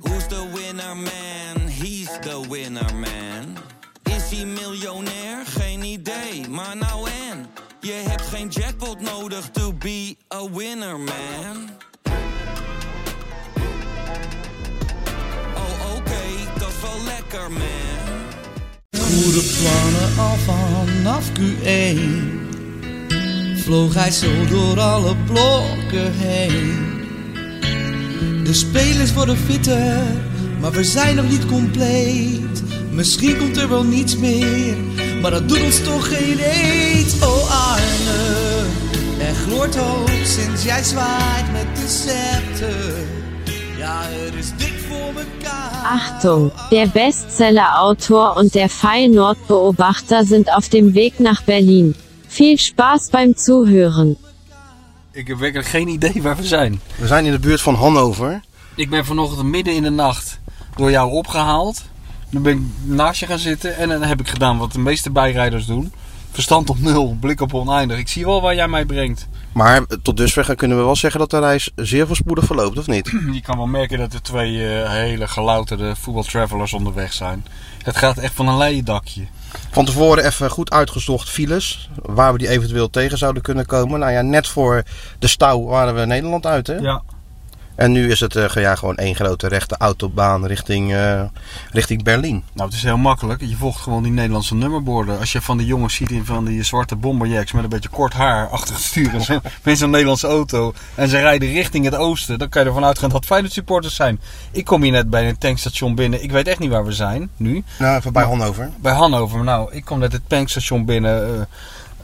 Who's the winner man? He's the winner man. Is hij miljonair? Geen idee, maar nou en. Je hebt geen jackpot nodig to be a winner man. Oh oké, dat is wel lekker man. Goede plannen al vanaf Q1 Vloog hij zo door alle blokken heen De spelers worden fitter, maar we zijn nog niet compleet Misschien komt er wel niets meer, maar dat doet ons toch geen eet Oh Arne, er gloort hoop sinds jij zwaait met de scepter Ja, er is dik voor mekaar Achtung, der Bestseller-Autor und der Feyenoord-Beobachter sind auf dem Weg nach Berlin. Viel Spaß beim Zuhören. Ik heb werkelijk geen idee waar we zijn. We zijn in de buurt van Hannover. Ik ben vanochtend midden in de nacht door jou opgehaald. Dan ben ik naast je gaan zitten en dan heb ik gedaan wat de meeste bijrijders doen. Verstand op nul, blik op oneindig. Ik zie wel waar jij mij brengt. Maar eh, tot dusver kunnen we wel zeggen dat de reis zeer voorspoedig verloopt, of niet? Je kan wel merken dat er twee eh, hele gelouterde voetbaltravelers onderweg zijn. Het gaat echt van een leien dakje. Van tevoren even goed uitgezocht files, waar we die eventueel tegen zouden kunnen komen. Nou ja, net voor de stouw waren we Nederland uit, hè? Ja. En nu is het eh, ge- ja, gewoon één grote rechte autobaan richting, eh, richting Berlijn. Nou, het is heel makkelijk. Je volgt gewoon die Nederlandse nummerborden. Als je van die jongens ziet in van die zwarte bomberjacks met een beetje kort haar achter het stuur en zo, met zo'n Nederlandse auto en ze rijden richting het oosten, dan kan je ervan uitgaan dat Feyenoord supporters zijn. Ik kom hier net bij een tankstation binnen. Ik weet echt niet waar we zijn nu. Nou, even bij Hannover. Bij Hannover. Maar Nou, ik kom net het tankstation binnen,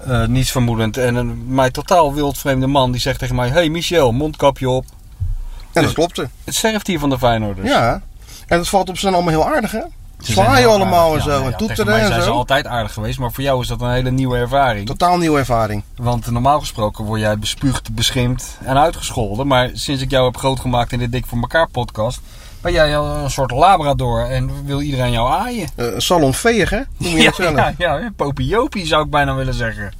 eh, eh, niets vermoedend. En een mij totaal wildvreemde man die zegt tegen mij, hey Michel, mondkapje op. En dat klopte. Het sterft hier van de Feyenoorders. Ja. En dat valt op ze dan allemaal heel aardig, hè? Ze zijn Zwaaien heel allemaal en aardig. Ja, ja, zo, en ja. Tegen toeteren mij en zijn ze zo. altijd aardig geweest, maar voor jou is dat een hele nieuwe ervaring. Totaal nieuwe ervaring. Want normaal gesproken word jij bespuugd, beschimpt en uitgescholden. Maar sinds ik jou heb grootgemaakt in de Dik voor elkaar podcast, ben jij al een soort labrador en wil iedereen jou aaien. Eh salonveeg, hè? Noem je dat zelf. ja, ja, ja, popiopie zou ik bijna willen zeggen.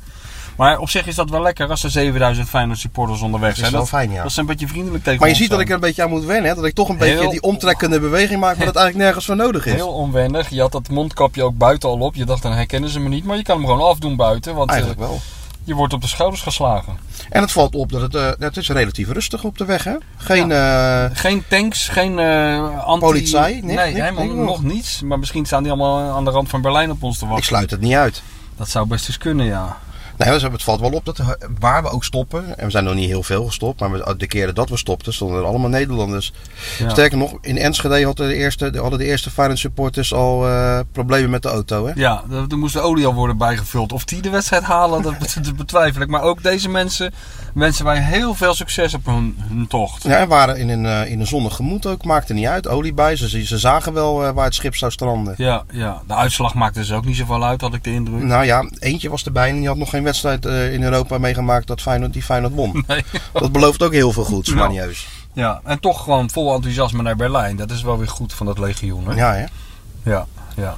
Maar op zich is dat wel lekker als er 7000 Feyenoord supporters onderweg is zijn. wel fijn, ja. Dat ze een beetje vriendelijk tegen Maar je ons ziet dat ik er zijn. een beetje aan moet wennen, hè? dat ik toch een beetje Heel- die omtrekkende beweging maak, maar dat eigenlijk nergens voor nodig is. Heel onwendig. Je had dat mondkapje ook buiten al op. Je dacht, dan herkennen ze me niet. Maar je kan hem gewoon afdoen buiten, want eh, Eigenlijk wel. je wordt op de schouders geslagen. En het valt op dat het, eh, het is relatief rustig op de weg, hè? Geen, eh, Geen tanks, geen eh anti... Politie, niks, Nee, niks, helemaal niks. nog niets. Maar misschien staan die allemaal aan de rand van Berlijn op ons te ik wachten. sluit het niet uit. Dat zou best eens kunnen, ja. Nee, dus het valt wel op dat eh, waar we ook stoppen, en we zijn nog niet heel veel gestopt, maar we- eh, de keren dat we stopten, stonden er allemaal Nederlanders. Ja. Sterker nog, in Enschede hadden de eerste, hadden de eerste Feyenoord supporters al eh, problemen met de auto, hè? Ja, er er moest de olie al worden bijgevuld. Of die de wedstrijd halen, dat, bet- dat betwijfel ik. Maar ook deze mensen wensen wij heel veel succes op hun, hun tocht. Ja, en waren in een, eh, in een zonnig gemoed ook, maakte niet uit, olie bij, ze, ze zagen wel eh, waar het schip zou stranden. Ja, ja. De uitslag maakt dus ook niet zoveel uit, had ik de indruk. Nou ja, eentje was erbij en die had nog geen wedstrijd eh, in Europa meegemaakt dat Feyenoord, die Feyenoord won. Nee. Dat belooft ook heel veel goeds, Nou. manieus. Ja, en toch gewoon vol enthousiasme naar Berlijn. Dat is wel weer goed van dat legioen, hè? Ja, hè? ja. ja.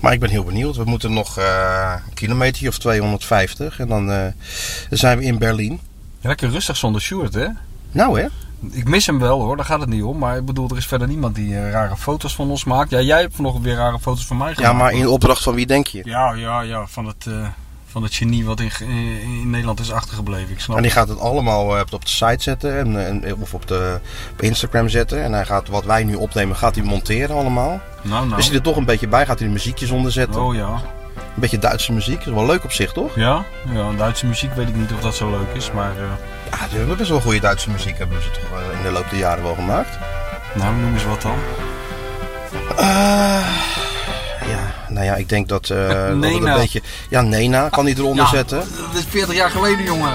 Maar ik ben heel benieuwd. We moeten nog eh, een kilometer of 250 en dan eh, zijn we in Berlijn. Lekker rustig zonder Sjoerd, hè? Nou hè, Ik mis hem wel hoor, daar gaat het niet om. Maar ik bedoel, er is verder niemand die eh, rare foto's van ons maakt. Ja, jij hebt vanochtend weer rare foto's van mij ja, gemaakt. maar in opdracht van wie denk je? Ja, ja, ja, van het, eh, van het genie wat in, in, in Nederland is achtergebleven. Ik snap En die het. gaat het allemaal eh, op de site zetten en, en- of op, de, op Instagram zetten. En hij gaat wat wij nu opnemen, gaat hij monteren allemaal. Nou, nou. Is hij er toch een beetje bij? Gaat hij de muziekjes onder zetten? Oh ja. Een beetje Duitse muziek. Dat is wel leuk op zich, toch? Ja? Ja, Duitse muziek weet ik niet of dat zo leuk is. Maar, eh Ja, die Ah, hebben best wel goede Duitse muziek hebben ze toch eh, in de loop der jaren wel gemaakt. nou, noem eens wat dan. Eh, ja, nou ja, ik denk dat, eh, dat het Nena. een beetje... Ja, Nena kan hij eronder Ja, zetten. Dat is 40 jaar geleden, jongen.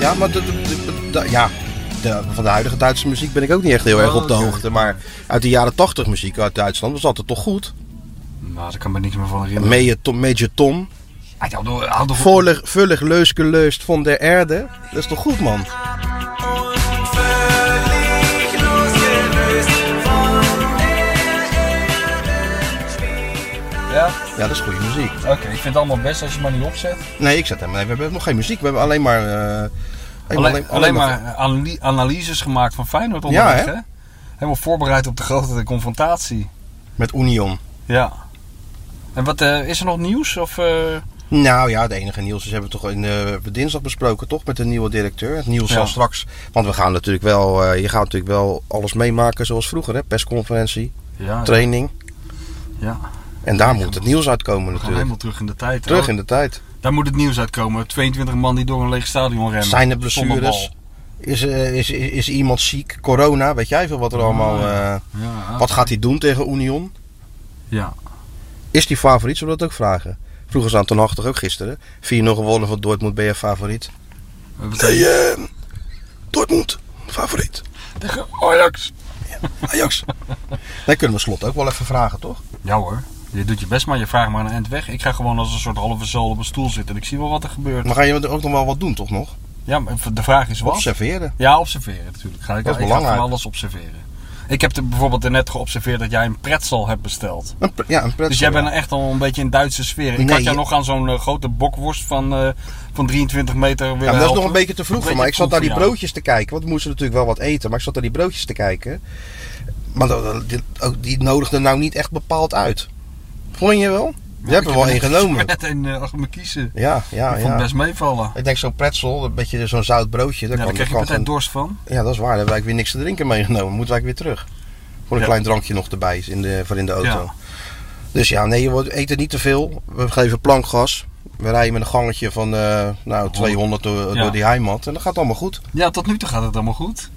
Ja, maar de, de, de- de- ja, de- van de huidige Duitse muziek ben ik ook niet echt heel erg op de Oké. hoogte. Maar uit de jaren 80 muziek uit Duitsland was altijd toch goed. Nou, daar kan me niks meer van herinneren. Major Tom, Major Tom. Hij had nog- hij had nog- Vollig, vullig, leuske, leust van der Erde. Dat is toch goed, man? Ja? Ja, dat is goede muziek. Oké, ik vind het allemaal best als je het maar niet opzet. Nee, ik zet hem. Nee, we hebben nog geen muziek. We hebben alleen maar. eh, alleen, Alleen, alleen, maar analy- analyses gemaakt van Feyenoord onderweg, Ja, hè? hè? Helemaal voorbereid op de grote confrontatie. Met Union. Ja. En wat, eh, is er nog nieuws? Of, eh, Nou ja, het enige nieuws is hebben we toch in, eh, dinsdag besproken, toch? Met de nieuwe directeur. Het nieuws Ja. zal straks. Want we gaan natuurlijk wel. eh, je gaat natuurlijk wel alles meemaken zoals vroeger, hè? Persconferentie, Ah, Ja, we training. Ja. En daar moet het nieuws uitkomen gaan natuurlijk. helemaal terug in de tijd. Terug hoor. in de tijd. Daar moet het nieuws uitkomen. 22 man die door een leeg stadion rennen. Zijn er Zonder blessures? Is, eh, is, is, is iemand ziek? Corona? Weet jij veel wat er allemaal. eh, bal. Ah, Ja, wat gaat hij doen tegen Union? Ja. Is die favoriet? Zullen we dat ook vragen? Vroeger ze aan Ten Hag toch ook gisteren. 4-0 gewonnen van Dortmund, ben je favoriet? Eh, Wat zei je? eh, Dortmund, favoriet. Tegen Ajax. Ajax. Dat kunnen we slot ook wel even vragen, toch? Ja hoor. Je doet je best, maar je vraagt maar een eind weg. Ik ga gewoon als een soort halve zool op een stoel zitten en ik zie wel wat er gebeurt. Maar ga je er ook nog wel wat doen, toch nog? Ja, maar de vraag is wat? Observeren. Ja, observeren natuurlijk. Ga ik, Dat is ik ga van belangrijk. alles observeren. Ik heb er bijvoorbeeld net geobserveerd dat jij een pretzel hebt besteld. Een pre- ja, een pret. Dus jij bent echt al een beetje in Duitse sfeer. Ik Nee, had jou je- nog aan zo'n eh, grote bokworst van, eh, van 23 meter willen Ja, maar dat is nog helpen. een beetje te vroeg voor Een mij. Ik zat beetje naar die vroeg voor jou. broodjes te kijken. Want we moesten natuurlijk wel wat eten. Maar ik zat naar die broodjes te kijken. Maar dat- die, ook die nodigde nou niet echt bepaald uit. Vond je wel? Je hebt er Ik wel heb één net- genomen. Ik heb net een eh, achter me kiezen. Ja, ja, ik vond het ja. best meevallen. Ik denk zo'n pretzel, een beetje zo'n zout broodje. Ja, Dat daar kan, kreeg je dat kan meteen gewoon- dorst van. Ja, dat is waar. Dan hebben wij ook weer niks te drinken meegenomen. Moeten wij ook weer terug. Voor een Ja. klein drankje nog erbij in de, voor in de auto. Ja. Dus ja, nee, je wordt- eet er niet te veel. We geven plankgas. We rijden met een gangetje van eh, nou, 200 door, Ja. door die heimat. En dat gaat allemaal goed. Ja, tot nu toe gaat het allemaal goed.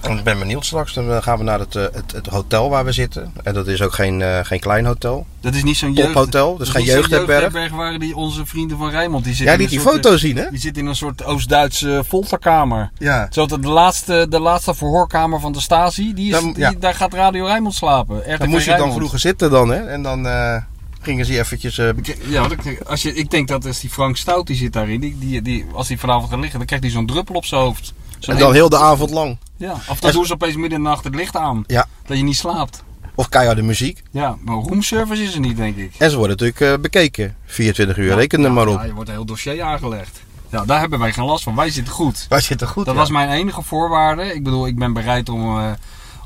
En ik ben benieuwd straks. Dan gaan we naar het, eh, het, het hotel waar we zitten. En dat is ook geen, eh, geen klein hotel. Dat is niet zo'n jeugd... Pophotel, dus dat is geen niet zo'n jeugdherberg. waren die onze vrienden van Rijnmond. Die Jij zitten liet in die een soort, foto zien, hè? eh, Die zitten in een soort Oost-Duitse folterkamer. Ja. Zodat de laatste, de laatste verhoorkamer van de Stasi, die is, Dan- ja. die- daar gaat Radio Rijnmond slapen. Dan RTV moest je dan Rijnmond. vroeger zitten dan, hè? En dan eh, gingen ze eventjes... eh, Ja, dat- als je, ik denk dat als die Frank Stout die zit daarin, die, die, die, als die vanavond gaat liggen, dan krijgt hij zo'n druppel op zijn hoofd. Zo'n en dan hele- heel de avond lang. ja. Of dan doen ze opeens midden in de nacht het licht aan. Ja. Dat je niet slaapt. Of keiharde muziek. Ja, maar roomservice is er niet, denk ik. En ze worden natuurlijk eh, bekeken. 24 uur, Ja. reken er maar op. Ja, je wordt een heel dossier aangelegd. Ja, daar hebben wij geen last van. Wij zitten goed. Wij zitten goed. Dat ja. was mijn enige voorwaarde. Ik bedoel, ik ben bereid om, eh,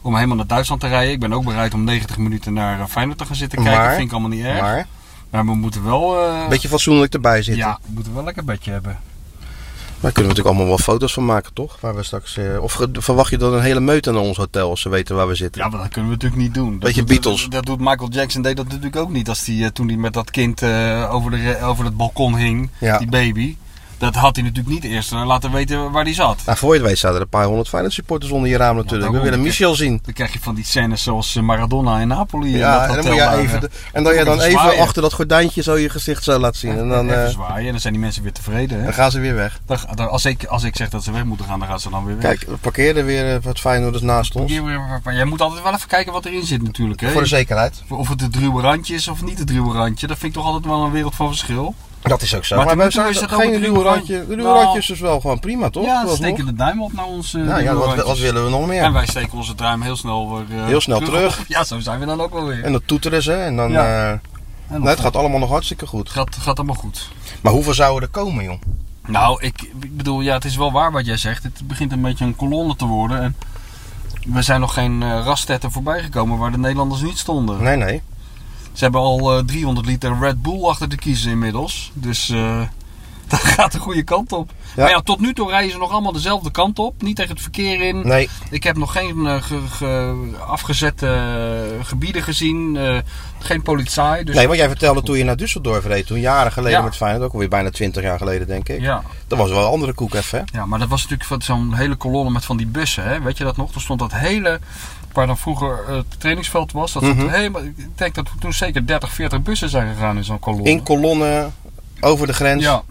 om helemaal naar Duitsland te rijden. Ik ben ook bereid om 90 minuten naar eh, Feyenoord te gaan zitten kijken. Maar- dat vind ik allemaal niet erg. Maar, Maar we moeten wel... eh, een beetje fatsoenlijk erbij zitten. ja, we moeten wel lekker bedje hebben. Daar kunnen we natuurlijk allemaal wel foto's van maken, toch? Waar we straks, eh, of ge- verwacht je dan een hele meute naar ons hotel als ze weten waar we zitten? Ja, maar dat kunnen we natuurlijk niet doen. Dat Beetje doet- Beatles. Dat, doet Michael Jackson deed dat natuurlijk ook niet. Als die, eh, toen hij met dat kind eh, over, de, re- over het balkon hing, Ja. die baby. Dat had hij natuurlijk niet eerst eh, laten weten waar hij zat. Nou, voor je het weet staan er een paar honderd Feyenoord supporters onder je raam natuurlijk. we daarom. willen Michel zien. Dan krijg je van die scènes zoals eh, Maradona in Napoli. in Ja, dat en dan hotel moet jij daar, even, eh, de- en dat jij dan even even zwaaien. achter dat gordijntje zo je gezicht zo laat zien. En dan, even eh, zwaaien. En dan zijn die mensen weer tevreden. Hè? dan gaan ze weer weg. Dan, dan- als, ik, als ik zeg dat ze weg moeten gaan, dan gaan ze dan weer weg. Kijk, we parkeerden weer eh, wat Feyenoorders naast ons. Hier weer- Maar jij moet altijd wel even kijken wat erin zit natuurlijk. Hè? Voor de zekerheid. Of het het ruwe randje is of niet het ruwe randje. Dat vind ik toch altijd wel een wereld van verschil. Dat is ook zo. Maar Maar, ten we minste zijn is het ook geen een ruwe ruwe randje. De randje. ruwe Nou. randjes is wel gewoon prima, toch? Ja, ze Alsnog. steken de duim op naar ons. eh, nou, ja ruwe wat, randjes. wat willen we nog meer? En wij steken onze duim heel snel weer eh, Heel snel terug. op. Ja, zo zijn we dan ook wel weer. En dat toeteren ze en dan... Ja. eh, En nee, het gaat allemaal nog hartstikke goed. gaat, gaat allemaal goed. Maar hoeveel zouden er komen, joh? Nou, ik, ik bedoel, ja, het is wel waar wat jij zegt. Het begint een beetje een kolonne te worden. En we zijn nog geen eh rastetten voorbijgekomen waar de Nederlanders niet stonden. Nee, nee. Ze hebben al eh, 300 liter Red Bull achter de kiezen inmiddels. Dus eh, dat gaat de goede kant op. Ja. Maar ja, tot nu toe rijden ze nog allemaal dezelfde kant op. Niet tegen het verkeer in. Nee, Ik heb nog geen eh, ge- ge- afgezette gebieden gezien, eh, geen politie. Dus nee want jij vertelde toen je naar Düsseldorf reed, toen jaren geleden Ja. met Feyenoord, ook alweer bijna 20 jaar geleden denk ik. ja. Dat was wel een andere koek even, hè? ja, maar dat was natuurlijk van zo'n hele kolonne met van die bussen. Hè? Weet je dat nog? Toen stond dat hele, waar dan vroeger eh, het trainingsveld was, dat stond Mhm. helemaal, ik denk dat toen zeker 30, 40 bussen zijn gegaan in zo'n kolonne. In kolonnen, over de grens. ja,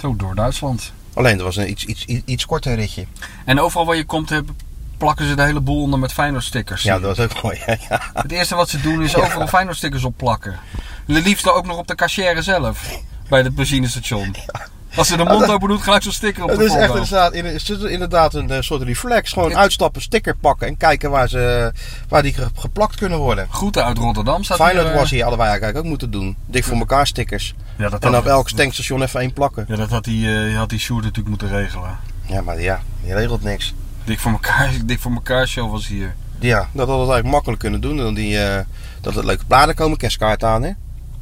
zo door Duitsland. Alleen, dat was een iets, iets, iets, iets korter ritje. En overal waar je komt heb- plakken ze de hele boel onder met Feyenoord stickers. Ja, dat was ook mooi. hè? Ja. Het eerste wat ze doen is overal Feyenoord stickers opplakken. Het liefst ook nog op de cashier zelf. Bij het benzinestation. Als ze de mond open doet, gelijk zo'n sticker op Het de is echt voorhoofd. inderdaad, in- is het inderdaad een eh, soort reflex. Gewoon uitstappen, sticker pakken en kijken waar, ze, waar die ge- geplakt kunnen worden. Groeten uit Rotterdam staat Feyenoord hier, eh, was hier allebei eigenlijk ook moeten doen. Dik voor elkaar stickers. Ja, dat En had, op elk tankstation even één plakken. ja, dat had die, eh, had die Sjoerd natuurlijk moeten regelen. Ja, maar ja, je regelt niks. Dik voor elkaar, dik voor elkaar show was hier. Ja, dat had het eigenlijk makkelijk kunnen doen. Dan die, eh, dat het leuke bladen komen, kerstkaart aan hè.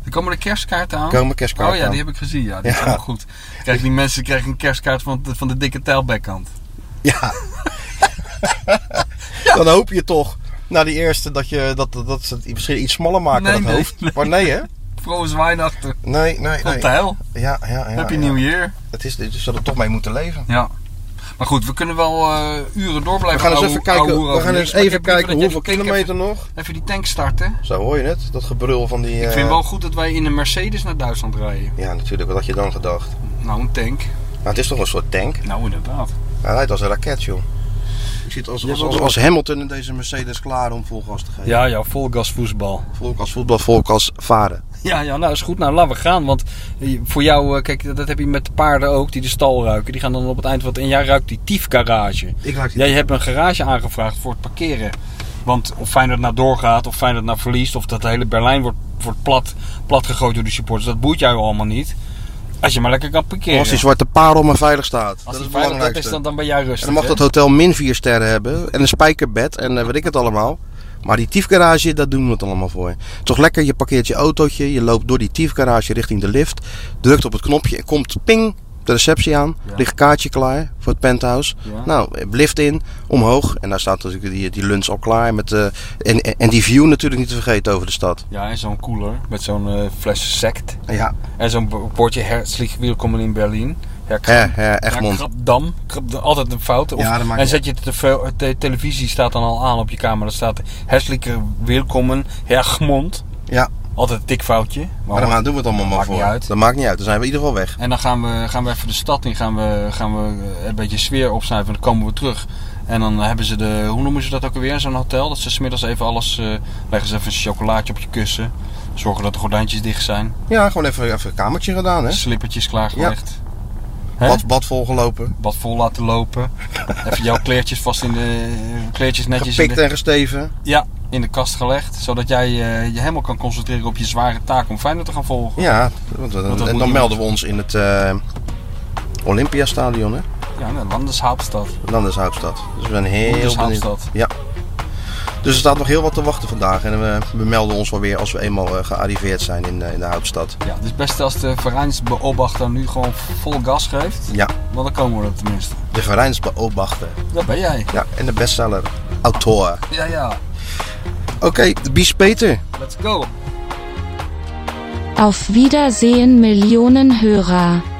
Er komen de kerstkaarten aan. Komen kerstkaarten Oh ja, die aan. heb ik gezien. Ja, die Ja. zijn wel goed. Krijg die mensen krijgen een kerstkaart van, de- van de dikke tijlbekkant. Ja. Dan hoop je toch na die eerste dat, je, dat, dat, dat ze het misschien iets smaller maken Nee, dat nee, hoofd. nee. Maar nee hè? Vroos Weihnachten. Nee, nee, Op nee. tijl. Ja, ja, ja. Happy ja. New Year. Het is, dus zullen er toch mee moeten leven. Ja. Maar goed, we kunnen wel eh, uren door We blijven gaan eens ouwe- even kijken, ouwehoeren we over gaan niks, eens maar ik even heb liever kijken dat jij die hoeveel tank kilometer nog. Even, even die tank starten. Zo hoor je het, dat gebrul van die... Ik eh, vind wel goed dat wij in een Mercedes naar Duitsland rijden. Ja, natuurlijk, wat had je dan gedacht? Nou, een tank. Maar het is toch een soort tank? Nou, inderdaad. Hij rijdt als een raket, joh. Ik zit als, als, als, als Hamilton in deze Mercedes klaar om vol gas te geven. Ja, ja, vol gas voetbal. Volk als voetbal, volk als varen. Ja, ja, nou is goed. Nou, laten we gaan. Want eh, voor jou, eh, kijk, dat heb je met de paarden ook, die de stal ruiken. Die gaan dan op het eind wat. En jij ruikt die tiefgarage. Ik raak die- Jij hebt een garage aangevraagd voor het parkeren. Want of Feyenoord nou doorgaat, of Feyenoord nou verliest, of dat de hele Berlijn wordt, wordt plat, plat gegooid door de supporters. Dat boeit jou allemaal niet. Als je maar lekker kan parkeren. Als die zwarte parel maar veilig staat. dat Als die is het veilig belangrijkste. is, dan, dan ben jij rustig. En dan mag hè? dat hotel min 4 sterren hebben. En een spijkerbed en eh, weet ik het allemaal. Maar die tiefgarage, daar doen we het allemaal voor. Toch lekker, je parkeert je autootje. Je loopt door die tiefgarage richting de lift. Drukt op het knopje en komt ping de receptie aan. Ja. Ligt kaartje klaar voor het penthouse. Ja. Nou, eh, lift in, omhoog. En daar staat natuurlijk die, die lunch al klaar. Met, eh, en, en, en die view natuurlijk niet te vergeten over de stad. Ja, en zo'n cooler met zo'n eh, fles sect. Ja, En zo'n bo- bordje herzlich willkommen in Berlin. Ja, hè, krap- hè, Ja, Egmond. krapdam. Krapdam. Altijd een fout. Of- Ja, dat en maakt niet zet je te veel, te- televisie staat dan al aan op je camera. Dan staat herzlich willkommen Egmond. Ja, Altijd een tikfoutje. maar wat- dan doen we het allemaal maar maakt voor. niet uit. Dat maakt niet uit, dan zijn we in ieder geval weg. En dan gaan we, gaan we even de stad in, gaan we, gaan we eh, een beetje sfeer opsnuiven en dan komen we terug. En dan hebben ze de, hoe noemen ze dat ook alweer, zo'n hotel? Dat ze smiddags even alles, eh, leggen ze even een chocolaatje op je kussen. Zorgen dat de gordijntjes dicht zijn, Ja, gewoon even, even een kamertje gedaan, hè. slippertjes klaargelegd. Hè? Bad, bad volgelopen. Bad vol laten lopen. even jouw kleertjes vast in de, kleertjes netjes in Gepikt de, en gesteven. ja, in de kast gelegd. Zodat jij eh, je helemaal kan concentreren op je zware taak om Feyenoord te gaan volgen. Ja, want, we- dat en moet dan je melden we ons in het eh, Olympiastadion, hè? Ja, nou, in de landeshauptstad. Landeshauptstad. Dus we zijn heel benieuwd. Landeshauptstad. Ja. Dus er staat nog heel wat te wachten vandaag. En we, we melden ons wel weer als we eenmaal eh, gearriveerd zijn in, eh, in de Houtstad. Ja, dus best als de Vereinsbeobachter nu gewoon vol gas geeft. Ja, Want dan komen we er tenminste. de Vereinsbeobachter. Dat ben jij. Ja, en de bestseller. Autor. Ja, ja. Oké, Bies Peter. Let's go. Auf Wiedersehen Millionen Hörer.